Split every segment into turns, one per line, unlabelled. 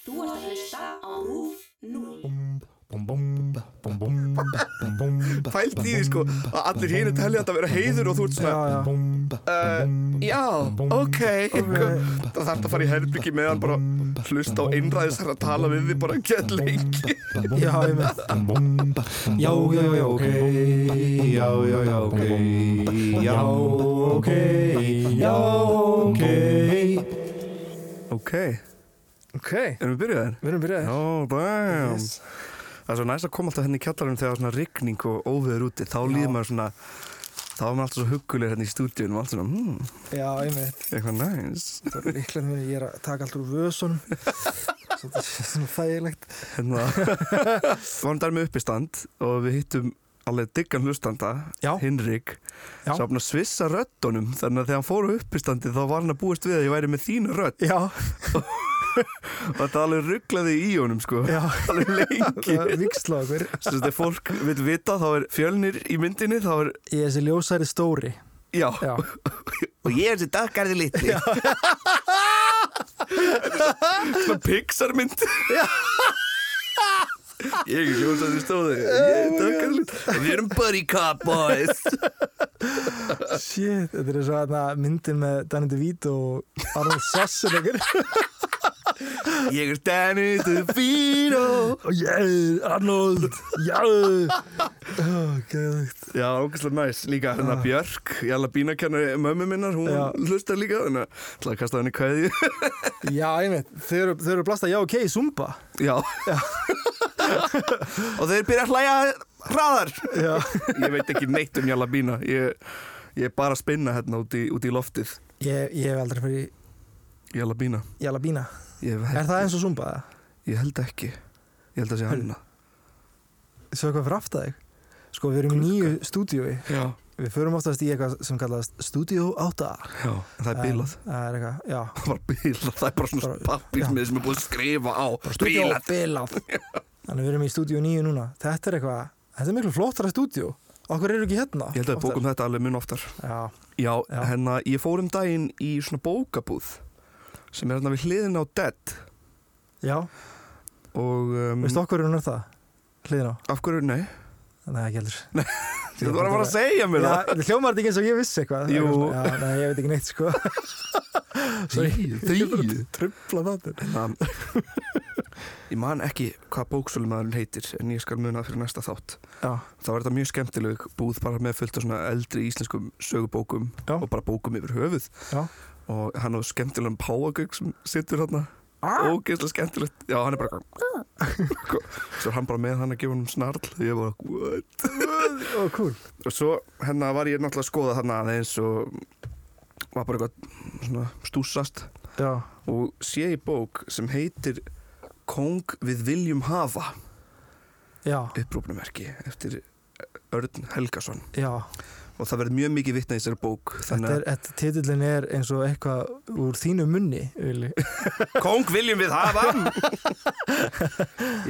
Þú ert að hlusta á RÚF 0.
Pælt í því sko að allir hinn telja þetta að vera heiður og þú ert
Já,
svona uh, Já, ok Það þarf að fara í herbyggi meðan bara hlusta á einræðis að tala við þig bara gett lengi
Já, ég með Já, já, já, ok Já, já, já, ok Já, ok Já, ok
Ok,
Ok,
erum við byrjuð þér?
við erum byrjaði.
Oh, damn
Yes.
Það er svo næst að koma alltaf henni í kjallarum þegar svona rigning og óveður úti þá líður maður svona þá er maður alltaf svo huggulegur hérna í stúdíunum allt svona, hmm,
Já, einmitt.
eitthvað næs
Það er líklega mér, ég er að taka allt úr vösunum. Svolítið svona þægilegt.
hérna varum þar með uppistand og við hittum alveg diggan hlustanda
Já.
Hinrik
Já.
sem að svissa röddunum þannig að þegar hann fór á uppistandi þá var hann að búast við að ég væri með þína rödd
Já,
og þetta alveg rugglaði í honum sko
já.
alveg lengi
Það er viksla okkur.
sem þetta fólk vil vita þá er fjölnir í myndinni þá er,
Ég er þessi ljósæri stóri.
já,
Já.
og ég er þessi daggarði litli svona Pixar mynd ég er hljómsætti stóði ég er daggarði litli og við erum buddy cop boys
Shit, þetta er svo aðna myndin með Danny DeVito og Arnold Schwarzenegger.
ég er Danny DeVito
Oh, yeah, Arnold, já. Oh, geðvægt.
já, ógæslega næs, líka hérna Björk ég alveg bínakennari mömmu minnar hún
Já.
hlustar líka þannig að ætla að kasta henni kvæði
Já, einmitt. Þau eru, þau eru blasta já, ok, Zumba.
já og þeir byrja að hlæja hraðar
Já,
ég veit ekki neitt um Jalla Bína ég, ég er bara að spinna hérna út í, út í loftið
ég, ég hef aldrei fyrir
Jalla Bína
Jalabína.
ég,
Er
hef,
það eins og Zumba? eða?
ég held ekki ég held að sé hanna
Svo hvað fyrir aftar þig? Sko, við erum í nýju stúdíói.
já.
Við förum oftast í eitthvað sem kallast Studio 8.
já, það er bílað
En, Það er eitthvað, já.
það var bílað, það er bara svona
Bara-
pappismið sem er búið að skrifa á
Studio
bílað
bilað. Þannig við erum í Studio 9 núna. Þetta er eitthvað, þetta er miklu flottara stúdíó. Okkur eru ekki hérna.
ég held að við
oftar.
bókum þetta alveg mun oftar
Já,
já,
Já.
hérna, ég fór um daginn í svona bókabúð sem er hérna við hliðin á Dead
já.
og um,
Veistu okkur eru nörð það? Hliðin á.
af hverju, nei,
Nei, ekki heldur.
þú var að fara að segja mér
Já,
það
hljómar þetta ekki eins og ég vissi eitthvað.
Jú.
Já, nei, ég veit ekki neitt, sko.
þegið
Trubla þáttur.
Um, Hérna, ég man ekki hvað bóksölumæðurinn heitir en ég skal muna það fyrir næsta þátt
Já,
þá er þetta mjög skemmtileg búð bara með fullt af svona eldri íslenskum sögubókum
Já.
og bara bókum yfir höfuð
já.
og hann á skemmtilegum páagauk sem situr þarna
Ah.
ógeðslega skemmtilegt já hann er bara svo er hann bara með hann að gefa hann snarl ég er bara what
Ó, cool.
og svo hérna var ég náttúrulega að skoða þarna aðeins og var bara eitthvað svona stúsast
Já.
og sé í bók sem heitir Kong við viljum hafa
Já,
upprúfnumerki eftir Örn Helgason
já.
og það verður mjög mikið vitna í þessari bók
Þetta er,
þannig
þetta titillin er eins og eitthvað úr þínu munni, Vili.
að Kong viljum við hafa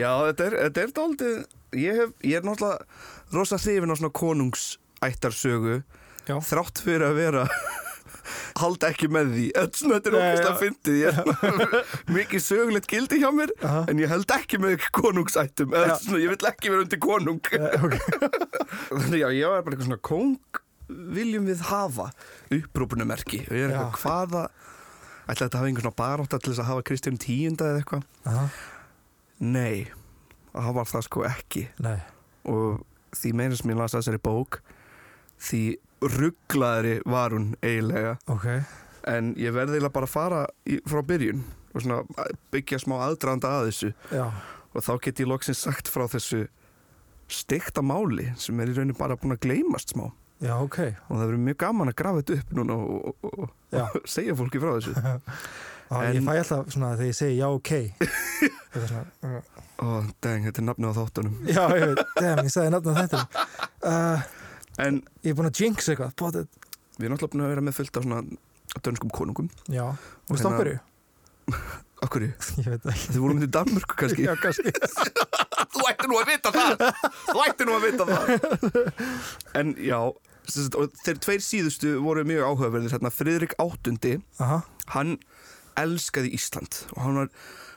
Já, þetta er, þetta er dálítið ég, hef, ég er náttúrulega rosa hrifin á svona konungsættarsögu
Já.
þrátt fyrir að vera halda ekki með því Þetta er svona- þetta er
Nei,
okkar
já.
að fyndið Ég- mikið sögulegt gildi hjá mér
Aha.
en ég held ekki með konungsættum
Já.
eða svona, ég vill ekki vera undir konung
Eh, ok.
Þannig já, ég var bara eitthvað svona kong viljum við hafa upprúpunumerki og ég er eitthvað
Já.
hvaða ætla þetta að hafa einhvern svona baróta til þess að hafa Kristján tíunda eða eitthvað
Aha.
nei, það var það sko ekki
Nei.
og því meira sem ég las þessari bók því rugglaðri var hún eiginlega
Ok,
en ég verði eiginlega bara að fara í, frá byrjun og svona byggja smá aðdraganda að þessu
já,
og þá get ég loksins sagt frá þessu stekta máli sem er í rauninu bara búin að gleymast smá
já, ok,
og það verður mjög gaman að grafa þetta upp núna og, og, og,
já.
og segja fólki frá þessu
En,
En-
ég fæ alltaf svona þegar ég segi já, ok. Þetta er svona, uh,
og dang, þetta er nafnið á þáttunum
já, ég veit, damn, ég sagði nafnum þetta. Uh,
en
ég er búinn að jinx eitthvað, bótið.
við erum alltaf búin að vera með fullt af svona dönskum konungum
Já, veistu
Hérna-
okkur?
okkur,
Ég veit það ekki.
þið voru myndið Danmörku kannski
Já, kannski.
þú ætti nú að vita það þú ætti nú að vita það en já, sem sagt, og þeir tveir síðustu voru mjög áhugaverðir hérna, Friðrik VIII
Aha,
hann elskaði Ísland og hann var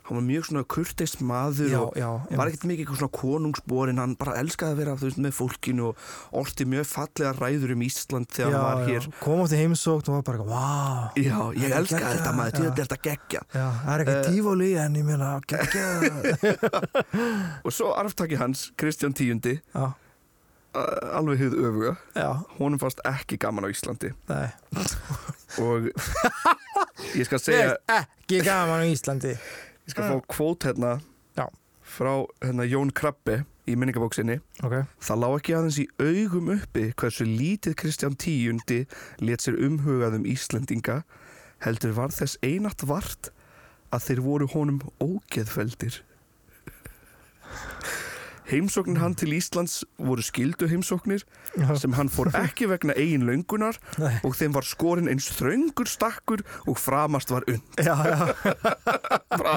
hann var mjög svona kurteist maður
já,
og
já,
var ekkert mikið eitthvað svona konungsborinn hann bara elskaði að vera þú veist, með fólkinu og orti mjög fallega ræður um Ísland þegar hann var hér
kom átti heimsókn og var bara vá,
já,
Það
ég
er
elskaði
geggjað,
þetta maður,
já.
þetta er þetta geggja
já, það er ekki
Eh.
tífóli en ég meina, geggja
og svo arftaki hans, Kristján Tíundi
já,
alveg hið öfuga,
já,
honum fannst ekki gaman á Íslandi
nei
og ég skal
Ég
segja,
er ekki gaman á Íslandi
ég skal fá kvót hérna
Já.
frá hérna, Jón Krabbe í minningabóksinni
ok,
Það lá ekki aðeins í augum uppi hversu lítið Kristján Tíundi let sér umhugað um Íslendinga heldur var þess einatt vart að þeir voru honum ógeðfeldir. Heimsóknir hann til Íslands voru skildu heimsóknir sem hann fór ekki vegna eigin löngunar
nei
og þeim var skorinn eins þröngur stakkur og framast var unn.
já, já,
Bara,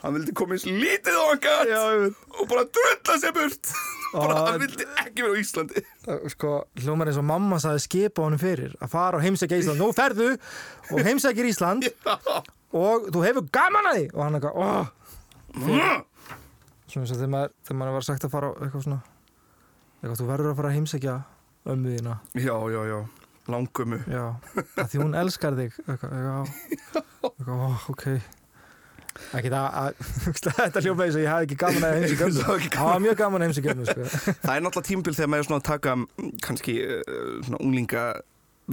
hann vildi koma eins lítið og hann gætt og bara drulla sér burt. bara,
Og-
hann vildi ekki vera á Íslandi.
það, sko, hljómar eins og mamma sagði skipa honum fyrir að fara og heimsækja Ísland, nú ferðu og heimsækir Ísland og þú hefur gaman að því og hann eitthvað, óh svona eins og þegar maður, þegar maður var sagt að fara á eitthvað svona eitthvað, þú verður að fara að heimsækja ömmu þína
Já, já, já, langömu
já, að því hún elskar þig eitthvað, já eitthvað, ó, ok ekki það að, þetta hljóma eins og ég hafði ekki gaman að heimsækja ömmu
Það var ekki
það var mjög gaman að heimsækja ömmu sko.
Það er náttúrulega tímabil þegar maður er svona að taka mm, kannski uh, svona unglinga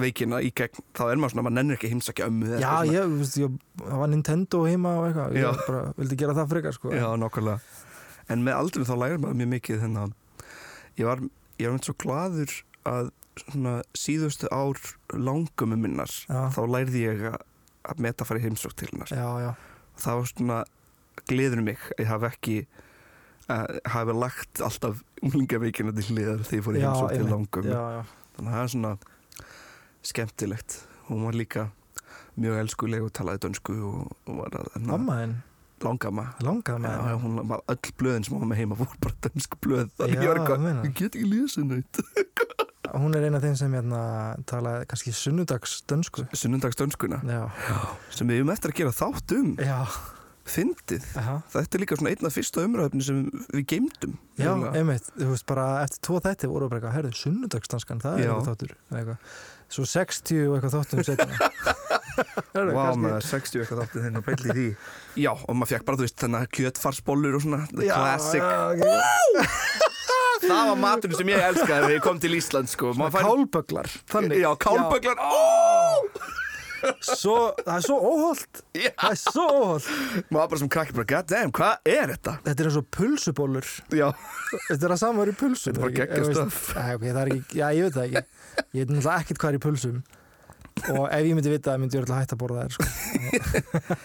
veikina í gegn þá er maður svona, maður nennir ekki að heimsækja ömmu eða
já,
eitthvað svona.
ég, þú veist, ég, það var Nintendo heima og eitthvað,
Já.
ég bara vildi gera það frekar sko.
Já, nákvæmlega En með aldrei þá lærir maður mjög mikið þennan ég var, ég var mynd svo gladur að svona síðustu ár langömu minnar
Já.
þá lærði ég að- að meta að fara í heimsók til hennar
já, já,
það var svona gleður mig að ég hafi ekki uh, hafi lagt alltaf unglingaveikina til hliðar þegar ég fór í
Já,
heimsók til
einmitt.
langömu
já, já.
þannig að það er svona skemmtilegt hún var líka mjög elskuleg og talaði dönsku og, og var að hérna,
mamma þinn,
langamma Já,
langaði með
já, hún var öll blöðin sem hún var með heima voru bara dönsku blöð þannig
Já,
ég var eitthvað,
meina.
ég get ekki lýsa neitt
hún er eina af þeim sem hérna, talaði kannski sunnudags dönsku
sunnundags dönskuna
já,
sem við höfum eftir að gera þátt um
já,
fyndið
aha
þetta er líka svona einn af fyrsta umræðum sem við geymdum
Já,
eiginlega.
einmitt, þú veist bara eftir tvo þætti voru bara eitthvað, herðu, sunnudagstanskan, það er
Já.
eitthvað þáttur eða eitthvað. Svo 60 og eitthvað þáttum setna Herðu,
Vá,
kannski-
maður 60 eitthvað þáttið þinn og pæli því Já, og maður fekk bara, þú veist, þannig að kjötfarsbollur og svona, the
Já,
classic
já, ok.
Það var maturinn sem ég elskaði þegar ég kom til Ísland, sko Maður fær-
Kálbögglar, þannig
Já, kálbögglar Ó!
svo, Það er svo óholt
Já.
Það er svo óholt
Maður bara sem krakki bara, god damn, hvað er þetta?
Þetta er eins og pulsubólur
Já,
Þetta er að saman í pulsum
Þetta er bara
ekki?
geggjað
Ef þú veist-
stöf.
Æ, ok, það er ekki, Já, ég veit það ekki Ég veit náttúrulega ekkert hvað er í pulsum Og ef ég myndi vita það myndi ég öll hægt að borða þær sko.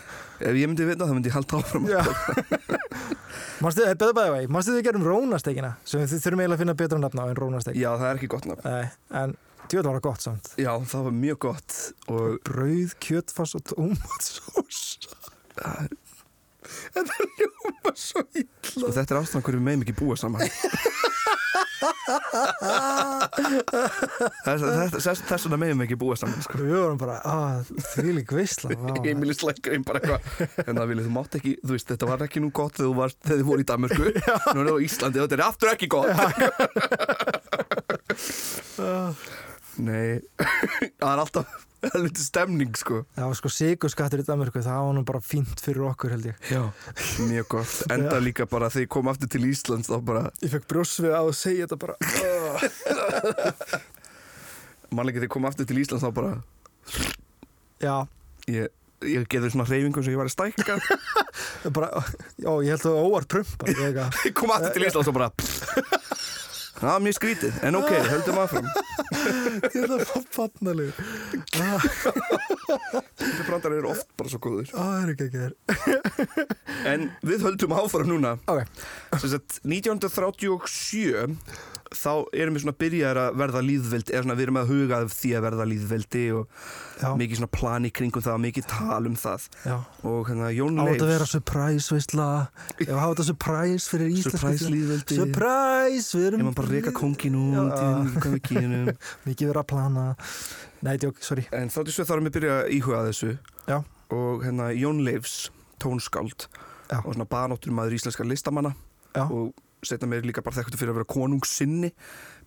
ef ég myndi vita það myndi ég halda áfram
Já Manstu, eh, betur bæði vei, manstu þið gerum rónastekina sem við þurfum eiginlega að finna betra nafn á en rónastek
Já, það er ekki gott nafn
Nei, en djöðl var það gott samt
Já, það var mjög gott og
Brauð, kjötfass og tómatsós
sko, þetta er ástæðan hverju við meðum ekki búa saman Þess þetta- þess- þess vegna meðum við ekki búa saman, sko
Við vorum bara, að þvílík veisla vá.
Emil slækir einn bara eitthvað En það vilja, þú mátt ekki, þú veist, þetta var ekki nú gott þegar þú varst, þegar þið voru í Danmörku Nú er það á Íslandi og þetta er aftur ekki gott Nei, það er alltaf helviti stemning, sko
Það var sko sigurskattur í Danmarku það var nú bara fínt fyrir okkur held ég
Já Mjög gott, enda líka bara þegar ég kom aftur til Íslands þá bara,
Ég fekk brjósvið á að segja þetta bara "Ah."
mannlega þegar ég kom aftur til Íslands þá bara
Já,
Ég, ég getur svona reyfingu sem ég var að stækka
bara, já, ég held að það óvart prumpa ég eitthvað.
Ég kom aftur til Íslands og bara Það var mjög skrítið, en ok, höldum áfram
Ég held að fá fannalegu Ah,
Þetta brandar eru oft bara svo góður
Það er ekki ekki þér
En við höldum áfram núna
Ok,
Sem sagt, 1937 þá erum við svona byrjaðar að verða líðveldi eða svona við erum að huga að því að verða líðveldi og
já,
mikið svona plan í kringum það og mikið tal um það
já
og hérna Jón
Á
Leifs
þetta að vera surprise, veistla Ég hafa þetta surprise fyrir íslenska
Surprise líðveldi
Surprise, við
Ég
erum
maður bara að reka kongin
Já.
og hvað við kynum
Mikið verið að plana Nei, djók, sorry
En þá til svo þarfum við að byrja að íhuga þessu
Já.
og hérna Jón Leifs tónskáld
Já.
og svona banóttur maður íslenskar listamanna
Já.
og setna meir líka bara þekktu fyrir að vera konungssinni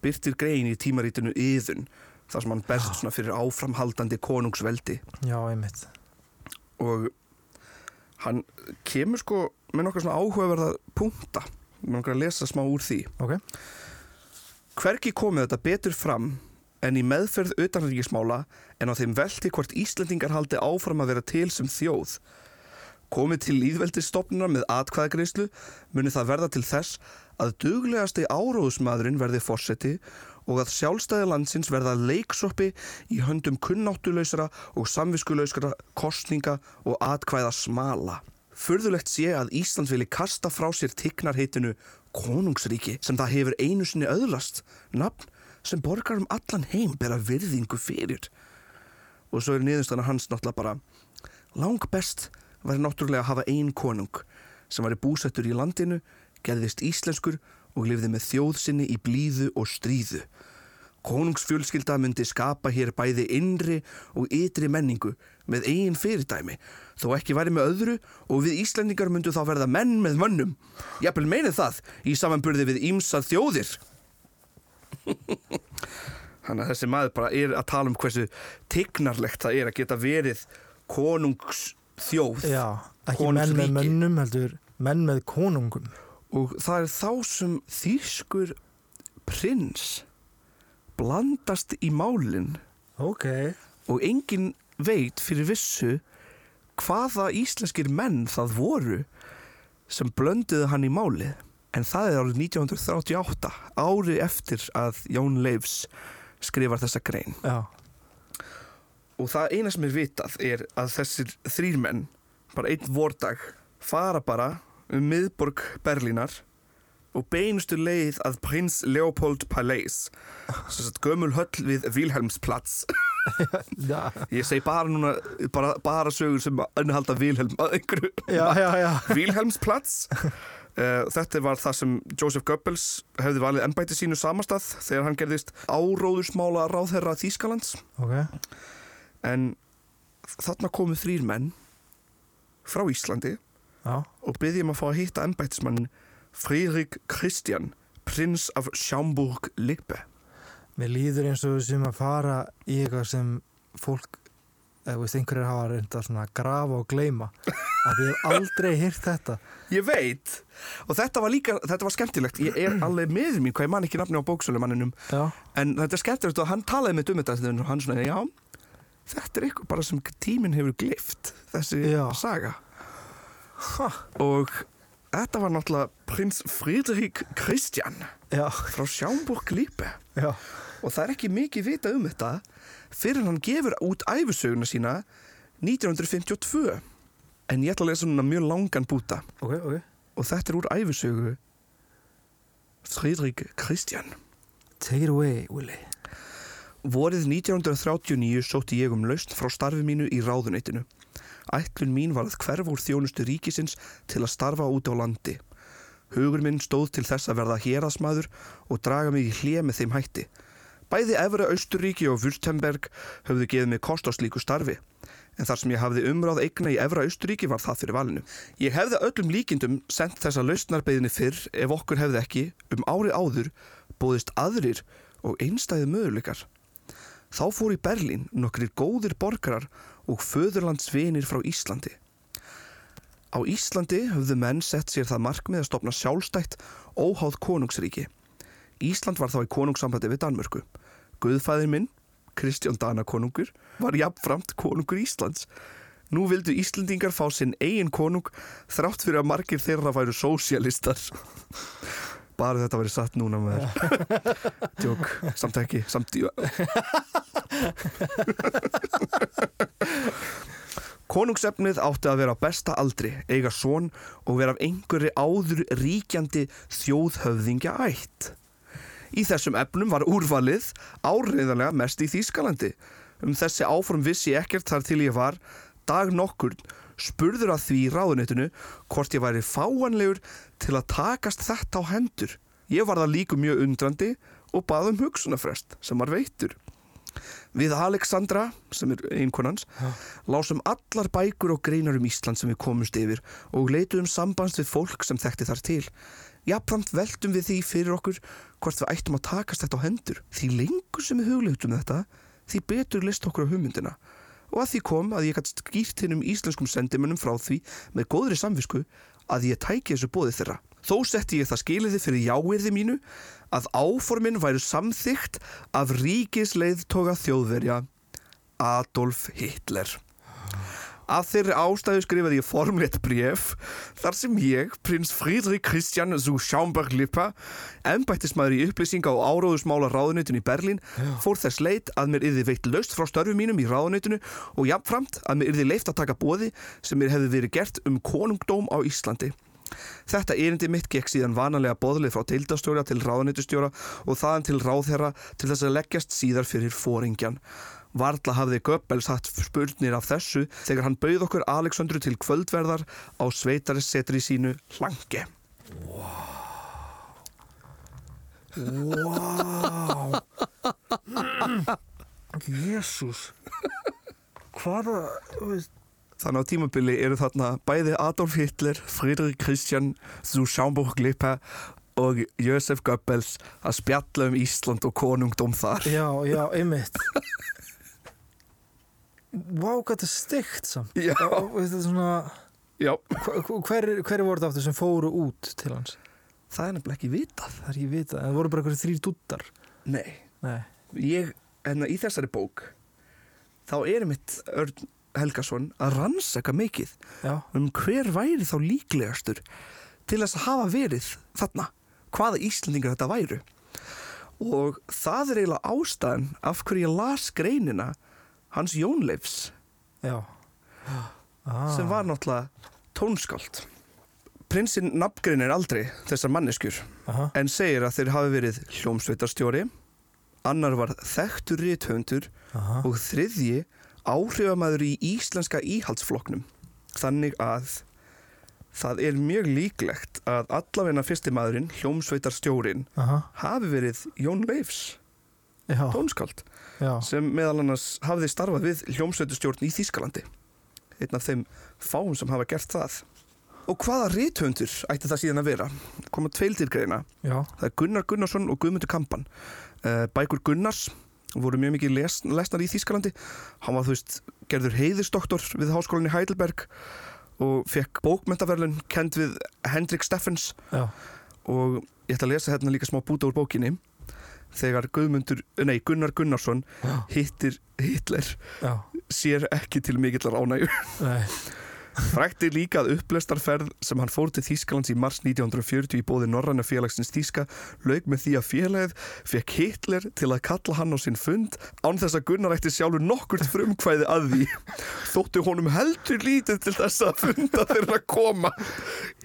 byrtir grein í tímarítinu yðun þar sem hann berst svona fyrir áframhaldandi konungsveldi
já, einmitt
og hann kemur sko með nokkar svona áhugaverða punkta með nokkar að lesa smá úr því
Ok.
Hvergi komið þetta betur fram en í meðferð utanríkismála en á þeim velti hvort Íslendingar haldi áfram að vera til sem þjóð. Komið til líðveldistofnunar með atkvæðagreyslu muni það verða til þess að duglegasti áróðsmaðurinn verði fórseti og að sjálfstæði landsins verða leiksoppi í höndum kunnáttulausra og samviskulausra kostninga og atkvæða smala. Furðulegt sé að Ísland vilji kasta frá sér tignarheitinu konungsríki sem það hefur einu sinni öðlast, nafn sem borgar um allan heim bera virðingu fyrir. Og svo er niðurstana hans náttúrulega bara langbest væri náttúrulega að hafa ein konung sem væri búsettur í landinu, gerðist íslenskur og lifði með þjóð sinni í blíðu og stríðu. Konungsfjölskylda myndi skapa hér bæði innri og ytri menningu með eigin fyrirdæmi, þó ekki væri með öðru og við Íslendingar myndu þá verða menn með mönnum. Jafnvel meina það í samanburði við ímsar þjóðir. Þannig að þessi maður bara er að tala um hversu tignarlegt það er að geta verið konungsþjóð
Já, ekki menn
konungsríki.
með mönnum heldur menn með konungum
og það er þá sem þýskur prins blandast í málinn
Ok
og enginn veit fyrir vissu hvaða íslenskir menn það voru sem blönduðu hann í málið. En það er árið 1938, ári eftir að Jón Leifs skrifar þessa grein.
Já,
Og það eina sem er vitað er að þessir þrýr menn, bara einn vordag, fara bara um miðborg Berlínar og beinustu leið að prins Leopold Palace, sem sagt gömul höll við Vilhelmsplatz.
já,
Ég segi bara núna, bara, bara sögur sem önhalda Vilhelm að einhverju
já, já, já.
Vilhelmsplats uh, Þetta var það sem Joseph Goebbels hefði valið embæti sínu samastað þegar hann gerðist áróðursmála ráðherra Þýskalands
Ok,
en þarna komu þrýr menn frá Íslandi
já,
og byggjum að fá að hitta embætismann Friðrik Kristján prins af Sjámburg-Lippe
mér líður eins og við sem að fara í eitthvað sem fólk eða veist einhverjir hafa reynda svona að grafa og gleyma að ég hef aldrei hýrt þetta
Ég veit og þetta var líka, þetta var skemmtilegt ég er alveg miður mín hvað ég man ekki nafni á bóksölumanninum
Já,
En þetta er skemmtilegt og hann talaði mitt um þetta þegar hann svona, já, þetta er eitthvað bara sem tíminn hefur glift þessi
Já.
saga. Og þetta var náttúrulega prins Friedrich Christian
já,
frá Sjámburg Lípe
já
og það er ekki mikið vita um þetta fyrir hann gefur út æfisöguna sína 1952. En ég ætla að lesa núna mjög langan búta
Ok, ok
og þetta er úr æfisögu Friedrich Christian.
Take it away, Willy
Vorið 1939 sótti ég um lausn frá starfi mínu í ráðuneytinu. Ætlun mín var að hverfa úr þjónustu ríkisins til að starfa út á landi. Hugur minn stóð til þess að verða hérasmaður og draga mig í hlið með þeim hætti. Bæði Evra Austuríki og Württemberg höfðu geðið mig kost á slíku starfi. En þar sem ég hafði umráð eigna í Evra Austuríki var það fyrir valinu. Ég hefði öllum líkindum sendt þessa lausnarbeginni fyrr ef okkur hefði ekki, um ári áður, bóðist aðrir og einstæði möguleikar. Þá fór í Berlín nokkrir góðir borgarar og föðurlandsvinir frá Íslandi. Á Íslandi höfðu menn sett sér það markmið að stopna sjálfstætt óháð konungsríki. Ísland var þá í konungssambandi við Danmörku. Guðfæðir minn, Kristján Danakonungur, var jafnframt konungur Íslands. Nú vildu Íslendingar fá sinn eigin konung þrátt fyrir að margir þeirra væru sósialistar. Bara þetta verið satt núna með þér. Djók, samt ekki, samt Konungsefnið átti að vera á besta aldri, eiga són og vera af einhverju áður ríkjandi þjóðhöfðingja ætt. Í þessum efnum var úrvalið áriðanlega mest í Þýskalandi. Um þessi áform vissi ég ekkert þar til ég var dag nokkur spurður að því í ráðuneytinu hvort ég væri fáanlegur til að takast þetta á hendur. Ég var það líku mjög undrandi og bað um hugsunafrest sem var veittur. Við Alexandra, sem er einkonans, lásum allar bækur og greinar um Ísland sem við komumst yfir og leituðum sambans við fólk sem þekkti þar til. Jafnframt veltum við því fyrir okkur hvort við ættum að takast þetta á hendur. Því lengur sem við hugleitum um þetta, því betur list okkur á hugmyndina. Og að því kom að ég gætt skýrt hinn um íslenskum sendimennum frá því með góðri samvisku að ég tæki þessu bóði þeirra. Þó setti ég það skiliði fyrir jáirði mínu að áformin væru samþygt af ríkisleiðtoga þjóðverja Adolf Hitler. Að þeirri ástæðu skrifaði ég formlegt bref þar sem ég, prins Friedrich Christian zu Schaumburg-Lippa, embættismæður í upplýsinga og áróðusmála ráðuneytinu í Berlín, fór þess leit að mér yrði veitt löst frá störfum mínum í ráðuneytinu og jafnframt að mér yrði leift að taka bóði sem mér hefði verið gert um konungdóm á Íslandi. Þetta erindi mitt gekk síðan vanalega boðlið frá deildastjóra til ráðuneytustjóra og þaðan til ráðherra til þess að leggjast síðar fyrir fóringjan. Varla hafði Goebbels hatt spurnir af þessu þegar hann bauð okkur Alexandru til kvöldverðar á sveitarissetri sínu hlangi.
Jésús Hvaða þú veist,
Þannig á tímabili eru þarna bæði Adolf Hitler, Friedrich Christian, Zu Schaumburg-Lippe og Josef Goebbels að spjalla um Ísland og konungdóm þar.
Já, já, einmitt Vá, hvað þetta er stygt samt
Já.
Og, veist, Þetta er svona
Já,
hver, hver, hver voru þetta aftur sem fóru út til hans?
það er nefnilega ekki vitað.
Það er ekki vitað, en það voru bara eitthvað þrýr dúttar
Nei.
Nei,
ég, hérna í þessari bók þá er mitt Örn Helgason að rannsaka mikið
já,
um hver væri þá líklegastur til þess að hafa verið þarna hvaða Íslendingar þetta væru og það er eiginlega ástæðan af hverju ég las greinina hans Jónleifs
já ah,
sem var náttúrulega tónskáld prinsinn nafngreinir aldrei þessar manneskjur
aha,
en segir að þeir hafi verið hljómsveitarstjóri annar var þekktur rithöndur
aha.
og þriðji áhrifamæður í íslenska íhaldsflokknum þannig að það er mjög líklegt að allavegna fyrstimæðurinn, hljómsveitarstjórin
Aha,
hafi verið Jón Leifs
já,
tónskald
já,
sem meðal annars hafði starfað við hljómsveitarstjórn í Þýskalandi einn af þeim fáum sem hafa gert það og hvaða rithöndur ætti það síðan að vera koma tveildir greina
já,
Það er Gunnar Gunnarsson og Guðmundur Kampan. Eh, Bækur Gunnars voru mjög mikið les, lesnar í Þýskalandi. Hann var, þú veist, gerður heiðistoktor við háskólinni Heidelberg og fekk bókmentaverlun kend við Hendrik Steffens
já,
og ég ætla að lesa hérna líka smá búta úr bókinni þegar Guðmundur, nei, Gunnar Gunnarsson
já,
hittir Hitler
já,
sér ekki til mikillar ánægju.
nei,
Frækti líka að upplestarferð sem hann fór til Þýskalands í mars 1940 í bóði Norræna félagsins Þýska lauk með því að félagið fekk Hitler til að kalla hann á sinn fund án þess að Gunnar ætti sjálfur nokkurt frumkvæði að því. Þóttu honum heldur lítið til þess að funda þeirra koma.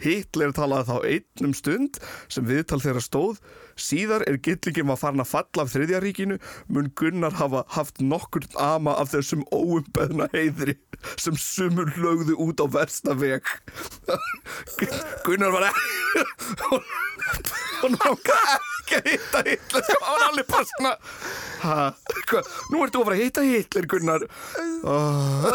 Hitler talaði þá einn um stund sem viðtal þeirra stóð. Síðar er gillingin var farin að falla af þriðjaríkinu mun Gunnar hafa haft nokkur ama af þessum óumbeðna heiðri sem sumur lögðu út á versta veg Gunnar var ekki hann langaði ekki að hitta Hitler sem hann var alveg bara svona ha, hva, nú ertu að fara að hitta Hitler Gunnar oh.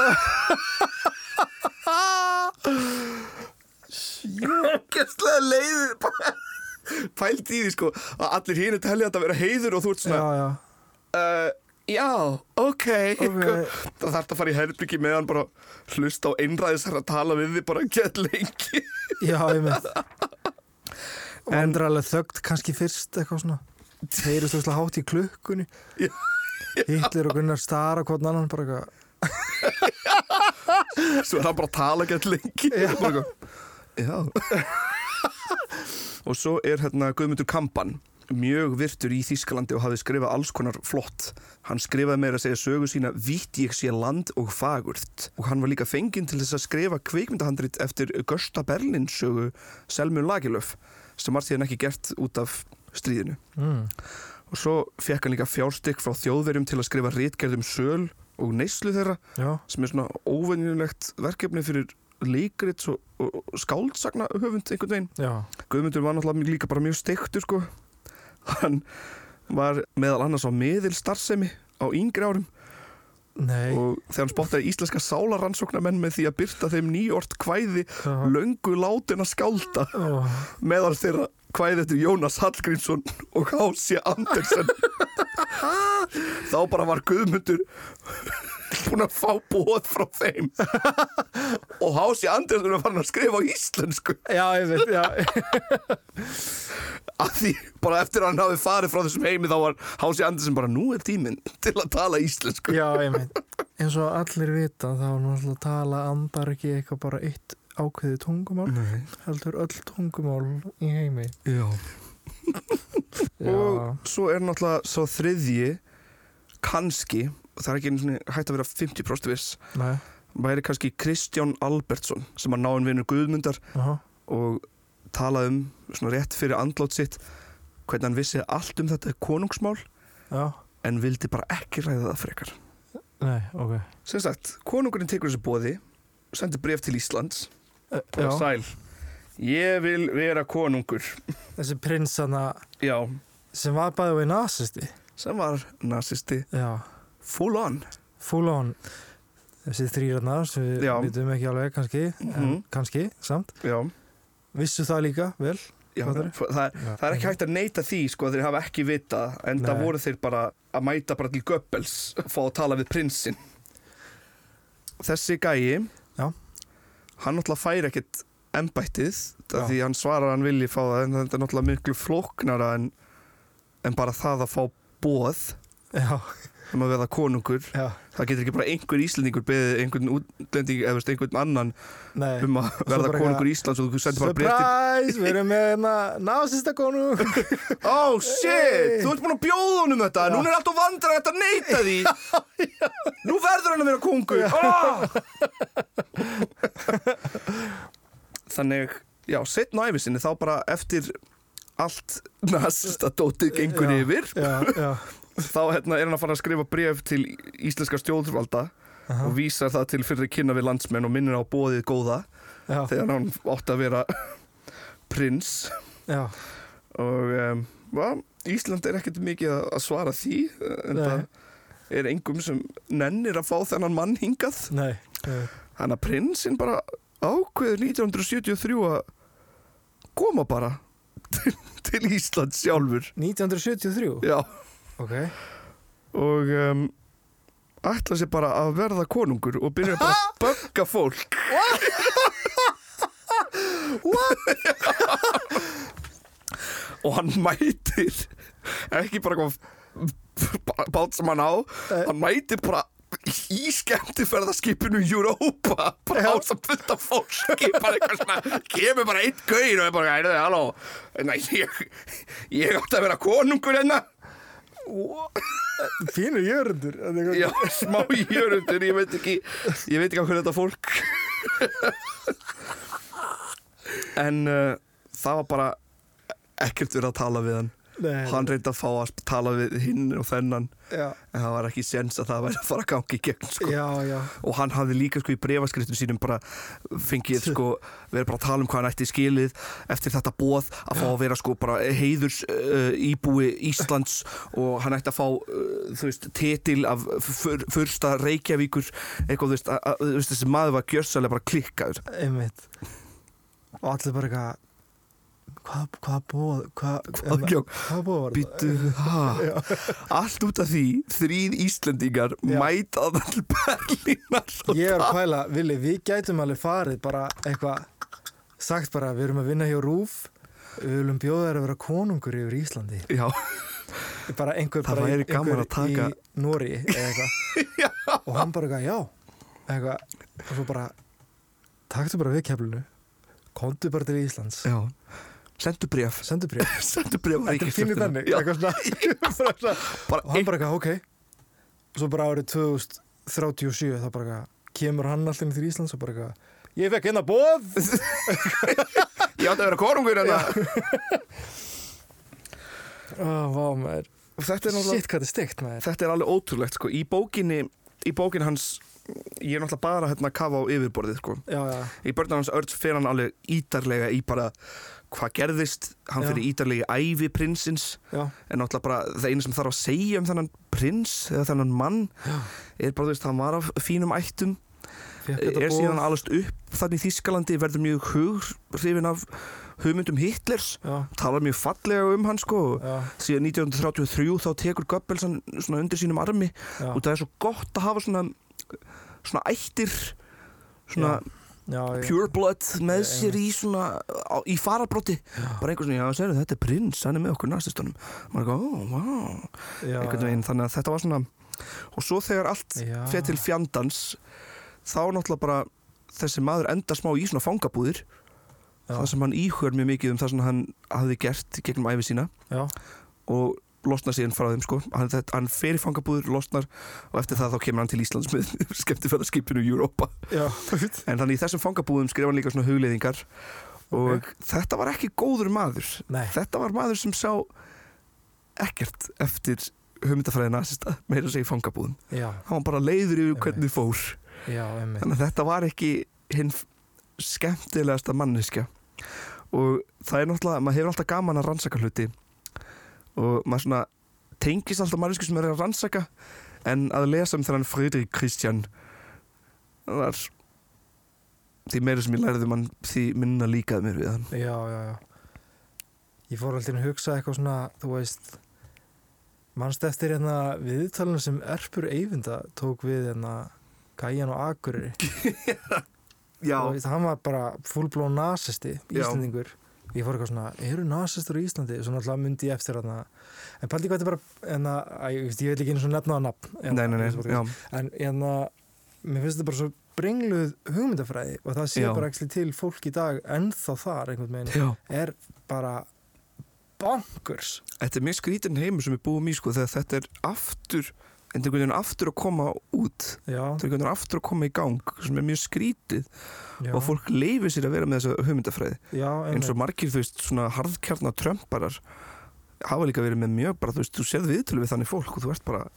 sjókjastlega leiður bara pælt í því sko að allir hínu telja þetta að vera heiður og þú ert svona
já, já
uh, já, ok,
Ok.
það þarf að fara í herbyggi með hann bara hlusta á einræðisar að tala við þig bara gett lengi
Já, ég með Vandrarlega þögt kannski fyrst eitthvað svona Heyrist þú hátt í klukkunni
Já.
Hitler og Gunnar stara hvort annan bara eitthvað
svo er hann bara að tala gett lengi já, já. og svo er hérna Guðmundur Kampan mjög virtur í Þýskalandi og hafði skrifað alls konar flott hann skrifaði meira að segja sögu sína vitt ég sé land og fagurð og hann var líka fenginn til þess að skrifa kveikmyndahandrit eftir Gösta Berlin sögu Selmu Lagerlöf sem var síðan ekki gert út af stríðinu
mm.
og svo fekk hann líka fjárstykk frá þjóðverjum til að skrifa rítgerðum söl og neyslu þeirra
Já,
sem er svona óvenjulegt verkefni fyrir leikrits og, og og skáldsagna höfund einhvern veginn.
já,
Guðmundur var náttúrulega líka bara mjög steiktur sko. Hann var meðal annars á miðil starfsemi á yngri árum
Nei,
og þegar hann spottaði íslenska sálarannsóknarmenn með því að byrta þeim nýjort kvæði
Já.
löngu látin að skálda
Ó,
meðal þeirra kvæði eftir Jónas Hallgrímsson og Hási Andersen þá bara var Guðmundur búinn að fá bóð frá þeim og Hási Andersen var farin að skrifa á íslensku
já, ég veit, já
að því bara eftir að hann hafi farið frá þessum heimi þá var Hási Andersen bara nú er tíminn til að tala íslensku
Já, ég veit eins og allir vita þá er náttúrulega tala andar ekki eitthvað bara eitt ákveðið tungumál
Nei,
heldur öll tungumál í heimi
já.
Já,
og svo er náttúrulega svo þriðji kannski, og það er ekki einu sinni hægt að vera 50% viss
nei,
væri kannski Kristján Albertsson sem að náinn vinur Guðmundar
aha
og talaði um svona rétt fyrir andlót sitt hvernig hann vissi allt um þetta konungsmál
Já,
en vildi bara ekki ræða það frekar
nei, ok
sem sagt, konungurinn tekur þessu bóði sendir bref til Íslands
Eh,
og er
Já,
sæl, ég vil vera konungur
þessi prinsana
já,
sem var bæði og í nazisti
sem var nazisti
Já,
full on
full on þessi þrýrarnar sem við
Já.
vitum ekki alveg kannski, en
Mhm.
kannski samt,
já,
vissu það líka vel
já,
Fattarðu?
það, það er ekki hægt að neita því sko að þeir hafa ekki vita en það
Nei.
voru þeir bara að mæta bara til Goebbels og fá að tala við prinsinn þessi gæi
Já.
hann náttúrulega fær ekkit embættið
Já.
af því hann svarar að hann vilji fá það en þetta er náttúrulega miklu flóknara en, en bara það að fá bóð
Já,
um að verða konungur
já,
það getur ekki bara einhver íslendingur beðið einhvern útlending eða veist, einhvern annan
nei
um að verða
bara
konungur Íslands og þú sendir bara breytið
Surprise, við erum með hérna nazista konu
Oh shit,
Hey.
þú ert búin að bjóða honum þetta
Já.
Núna er allt og vandrar þetta að neyta því Nú verður hann að vera kongur oh! Þannig, já, setn á æfisinni þá bara eftir allt nasista dótið gengur
Já.
yfir
Já, já,
þá hérna, er hann að fara að skrifa bref til íslenska stjórnvalda
aha,
og vísar það til fyrir kynna við landsmenn og minnir á bóðið góða
já,
þegar hann átt að vera prins
já
og um, va, Ísland er ekkert mikið að að svara því eh, en
Nei.
það er engum sem nennir að fá þennan mann hingað
Nei, nei,
hann að prinsinn bara ákveður 1973 að koma bara til, til Ísland sjálfur
1973,
já
ok
og um, ætla sér bara að verða konungur og byrja bara að bögga fólk og hann mætir ekki bara eitthvað bát sem hann á hann mætir bara í skemmtiferðaskipinu Europa bara á sem fullt af fólki bara eitthvað svona, kemur bara einn gauðin og er bara, heyrðu, halló Nei, ég, ég átti að vera konungur hérna
Fínur jörundur þetta er
Já, smá jörundur, ég veit ekki Ég veit ekki af hverju þetta fólk En uh, það var bara ekkert verið að tala við hann
eitthvað- Nei,
Hann reyndi að fá að tala við hinn og þennan
já,
En það var ekki sens að það væri að fara að gangi í gegn sko.
já, já,
Og hann hafði líka sko í brefaskriftum sínum bara fengið sko verið bara að tala um hvað hann ætti skilið eftir þetta bóð að fá að vera sko bara heiðurs uh, íbúi Íslands og hann ætti að fá uh, þú veist titil af fyr, fyrsta Reykjavíkur eitthvað þú veist, að, að, þú veist þessi maður var gjörsalega bara klikkaður
einmitt Og allir bara eitthvað Hvað, hvað bóð, hvað
Hvað
hérna,
bjó-
Hvað bóð var það?
Býtu, ha, allt út af því þrýð Íslendingar
Já.
mæta all Berlínar og
Ég er að pæla, Vili, við gætum alveg farið bara eitthvað sagt bara, við erum að vinna hjá RÚF við viljum bjóða þær að vera konungur yfir Íslandi
Já,
bara einhver
Það
bara í-
væri gaman
einhver
að taka-
í Nóri eða eitthvað og hann bara eitthvað, já eitthvað, og svo bara taktu bara við keflinu komdu bara til Íslands,
já Sendu bref
sendu bréf
Sendu bref á
þetta er
ríkisstjórnina.
fínir þannig
Já,
eitthvað svona Bara svona. og
bara
hann bara eitthvað, ok svo bara árið 2037 þá bara eitthvað, kemur hann alltaf inn til Íslands og bara eitthvað, ég fekk hérna bóð
Ég átti að vera konungur hérna. en það Ah,
Oh, vá, maður.
Þetta er náttúrulega
Shit, hvað þetta er steikt, maður.
Þetta er alveg ótrúlegt sko Í bókinni Í bókin hans ég er náttúrulega bara hérna að kafa á yfirborðið sko.
já, já,
Í börnum hans Örts fer hann alveg ítarlega í bara hvað gerðist, hann
Já.
fyrir ítarlega í ævi prinsins
já,
en náttúrulega bara það eina sem þarf að segja um þennan prins eða þennan mann er bara þú veist, hann var af fínum ættum
fekk þetta
er
boð.
síðan alast upp þannig í Þískalandi verður mjög hughrifin af hugmyndum Hitlers
já,
talar mjög fallega um hann sko
já,
síðan 1933 þá tekur Goebbels hann svona undir sínum armi
já,
og það er svo gott að hafa svona svona ættir svona
já, já.
pure blood með
Já,
sér í svona á, í farabrotti, bara einhvern veginn já, segðu, þetta er prins, hann er með okkur nastistunum maður er ekki, ó, vá,
já,
einhvern
já.
veginn þannig að þetta var svona og svo þegar allt
Já.
fer til fjandans þá náttúrulega bara þessi maður enda smá í svona fangabúðir
Já.
það sem hann íhugar mjög mikið um það sem hann hafði gert í gegnum æfi sína
já,
og losnar síðan frá þeim sko hann, þetta, hann fer í fangabúður, losnar og eftir það þá kemur hann til Íslands með skemmtifæðarskipinu Europa
já,
en þannig í þessum fangabúðum skrifa hann líka svona hugleiðingar og þetta var ekki góður maður
nei,
þetta var maður sem sá ekkert eftir hugmyndafræði nasista meira að segja í fangabúðum
já,
hann var bara leiður yfir hvernig fór
já, emmi,
þannig að þetta var ekki hinn f- skemmtilegasta manneskja og það er náttúrulega maður hefur alltaf gaman að rannsaka hluti og maður svona tengist alltaf mannesku sem er að rannsaka en að lesa um þennan Friðrik Kristján það var því meira sem ég lærði mann því minna líkaði mér við hann
já, já, já. Ég fór alltaf að hugsa eitthvað svona, þú veist, mannst eftir hérna viðtalinu sem Erpur Eyvinda tók við hérna Gæjan og Akureyri. og veist, hann var bara fullblón nazisti
Já.
íslendingur ég fór eitthvað svona, eru nazistur í Íslandi og svona alltaf myndi ég eftir hann en paldi hvað þetta er bara en, að, að, ég, veist, ég veit ekki einu svona nefna á nafn hérna,
nei, nei, nei,
eins og-
já,
en en að, mér finnst þetta bara svo brengluð hugmyndafræði og það sé
Já.
bara ekki til fólk í dag ennþá þar einhvern veginn
já
er bara bonkurs
þetta er mjög skrítin heimur sem við búum í sko þegar þetta er aftur en þetta er aftur að koma út
já,
þetta er einhvern veginn aftur að koma í gang sem er mjög skrítið
já,
og fólk leifir sér að vera með þessa hugmyndafræði
já,
eins
einmitt.
og margir þú veist svona harðkjarnar trömparar hafa líka verið með mjög bara þú veist, þú sérð viðtölu við þannig fólk og þú ert bara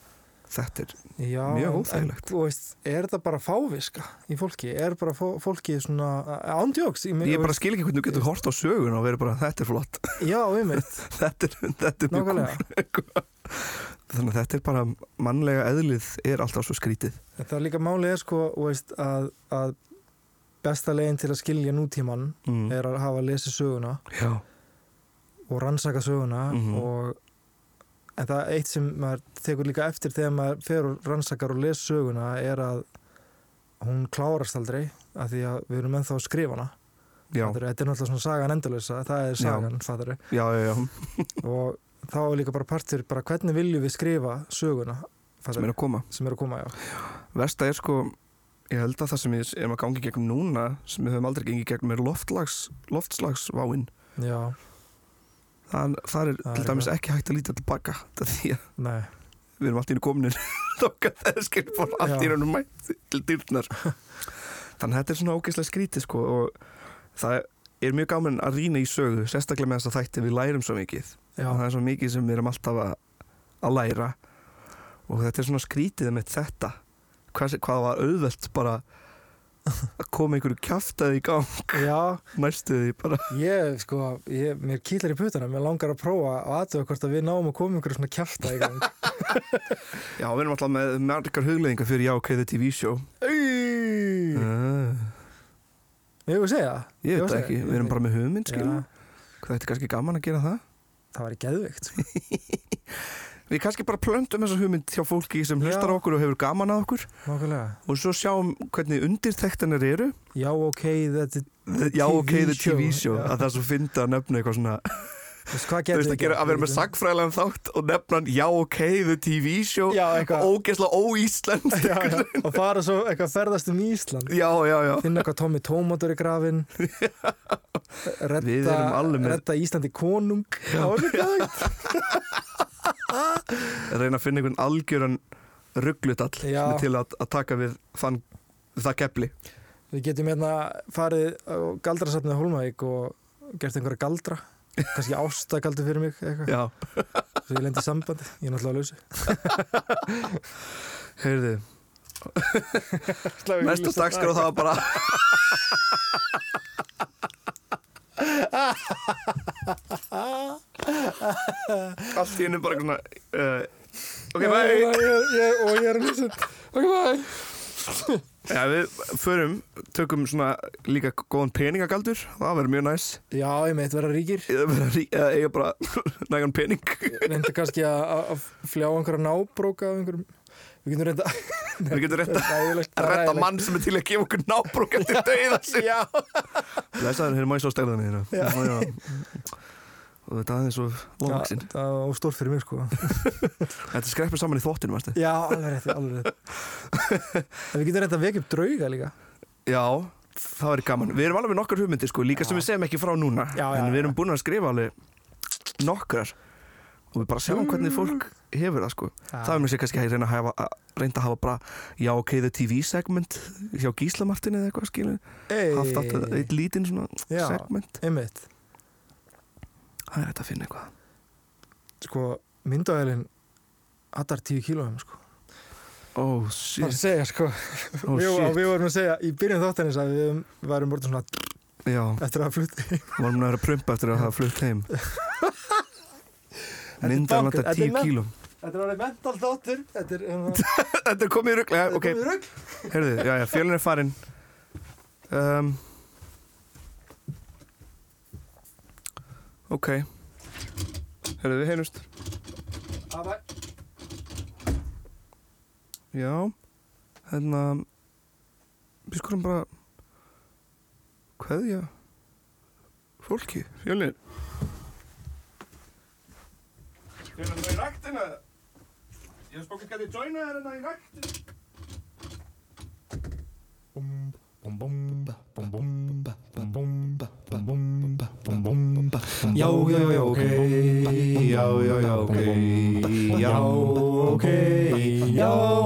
þetta er,
Já,
Mjög
en-
óþægilegt.
en, þú veist, Er þetta bara fáviska í fólki? Er bara fó- fólki svona ándjóks?
ég bara skil ekki hvernig þú getur hort á sögun og verið bara þetta er flott,
Já, einmitt,
þetta er, þetta er mjög cool.
nákvæmlega
þannig að þetta er bara mannlega eðlið er alltaf svo skrítið
En Það er líka málið er sko þú veist, að, að besta legin til að skilja nútíman
mm.
er að hafa lesið söguna
já,
og rannsaka söguna
Mhm.
og, en það er eitt sem maður tekur líka eftir þegar maður fer og rannsakar og les söguna er að hún klárast aldrei af því að við erum ennþá að skrifa hana
já,
Fattarðu? þetta er náttúrulega svona sagan endalösa það er sagan, fattari
já, já, já.
og þá er líka bara partur bara hvernig viljum við skrifa söguna
sem er
fattari,
að koma
sem er að koma já.
Vesta er sko, ég held að það sem við erum að gangi gegnum núna, sem við höfum aldrei gengið gegnum er loftlags, loftslagsváin
já,
það, það er
Það er
til dæmis
eitthvað.
ekki hægt að líta tilbaka þetta því að
nei
við erum allt í hennu kominir þókað þessi skilfór allt í
Já.
hennu mætt til dyrnar þannig að þetta er svona ógeðslega skrítið sko og það er mjög gaman að rýna í sögu sérstaklega með þess að þætti við lærum svo mikið
já,
það er svo mikið sem við erum alltaf að, að læra og þetta er svona skrítið með þetta hvað, hvað var auðvelt bara að koma einhverju kjaftaði í gang
já
næstuði bara
Ég, sko, ég, mér kýlar í putana, mér langar að prófa að aðtöða hvort að við náum að koma ykkur svona kjálta í gang.
já við erum alltaf með margar hugleðingar fyrir já ok the TV show
Ég
uh,
vil segja það.
ég veit
Já,
það
segir-
ekki, við erum bara með hugmynd skilum
Já,
Hvað þetta er kannski gaman að gera það?
það væri geðveikt. sko.
Við kannski bara plöntum þessa hugmynd hjá fólki sem
Já.
hlustar á okkur og hefur gaman að okkur
Nákvæmlega.
og svo sjáum hvernig undirþektanar eru
Já, ok, þetta,
The- Já,
TV
ok, the TV show
show, já.
að það er svo fyndi að nefna eitthvað svona
þú veist, hvað
Þú
getur
veist að, gera, að vera með sagfræðilegan þátt og nefna hann Já, ok, the TV show
Já, eitthvað.
Ógesla óíslend
Já, já, og fara svo eitthvað ferðast um Ísland.
já, já, já
Finna eitthvað Tommy Tómatur í grafin.
Við
Redda,
erum alveg með-
redda Íslandi konung. Já, það er geðveikt.
Reyna að finna einhvern algjöran rugglutall
Já.
til að, að taka við þann, það kepli
Við getum hérna farið á galdrasafnið á Hólmavík og gert einhverja galdra. Kannski ástagaldur fyrir mig eitthvað.
Já,
Svo ég lendi í sambandi, ég er náttúrulega lausi
heyrðu Næsta dagskrá það var bara Allt í hennu bara svona uh, Ok, bye
Og ég er að lýsa Ok, bye
Já, við förum, tökum svona líka góðan peningagaldur Það verður mjög næs
Já, ég meitt vera ríkir
Eða bara rí- eða eiga bara nægan pening
Reynda kannski að- að að fljá einhverja nábróka af einhverjum Við getum reynda
Við getum retta,
Ræðilegt
retta mann sem er til að gefa okkur nábrók eftir döiða sig
Já
Lesaður, hérna má ég svo stærða mér Já, já Og þetta aðeins og lóksinn
Það var stórt fyrir mig sko
Þetta skreppur saman í þvóttinu, varstu?
Já, alveg rétt, alveg rétt En Við getum reynda að vekja upp drauga líka
Já, það verður gaman Við erum alveg með nokkar hugmyndir sko, líka
Já.
sem við segjum ekki frá núna
Já, já,
En
já.
við erum búin að skrifa alveg nokkrar Og við bara sjáum hvernig fólk hefur það sko Það er mér sér kannski að reyna að hafa að reynda að hafa bara Já, ok, the TV segment hjá Gísla Martin eða eitthvað skilu
hey,
Haft alltaf eitt lítinn svona
Já.
segment
Einmitt,
Það er hægt að finna eitthvað
sko, myndavælin hattar 10 kílóum sko
Oh
Það er að
shit,
segja sko
oh
við, og
shit
við vorum að segja í byrjun þáttanins að við varum orðin svona
Já,
eftir að flutti
varum að vera að prumpa eftir að hafa flutt heim
er
Myndan
bankað,
þetta
þetta er
10
men-
kílum
Þetta er orðið mental þáttur Þetta er hérna
Þetta er komið í rugg, já, ok
rögg
Herðu, já, já, fjölin er farinn um, Ok Herðu, við heyrjumst Já Hérna Við skulum bara Kveðja Fólki, fjölin Fjölin, þú í ræktina Ég hef spokið gæti joina þér hérna í ræktina
Já, já, já, ok Já, já, já, ok Já, ok Já,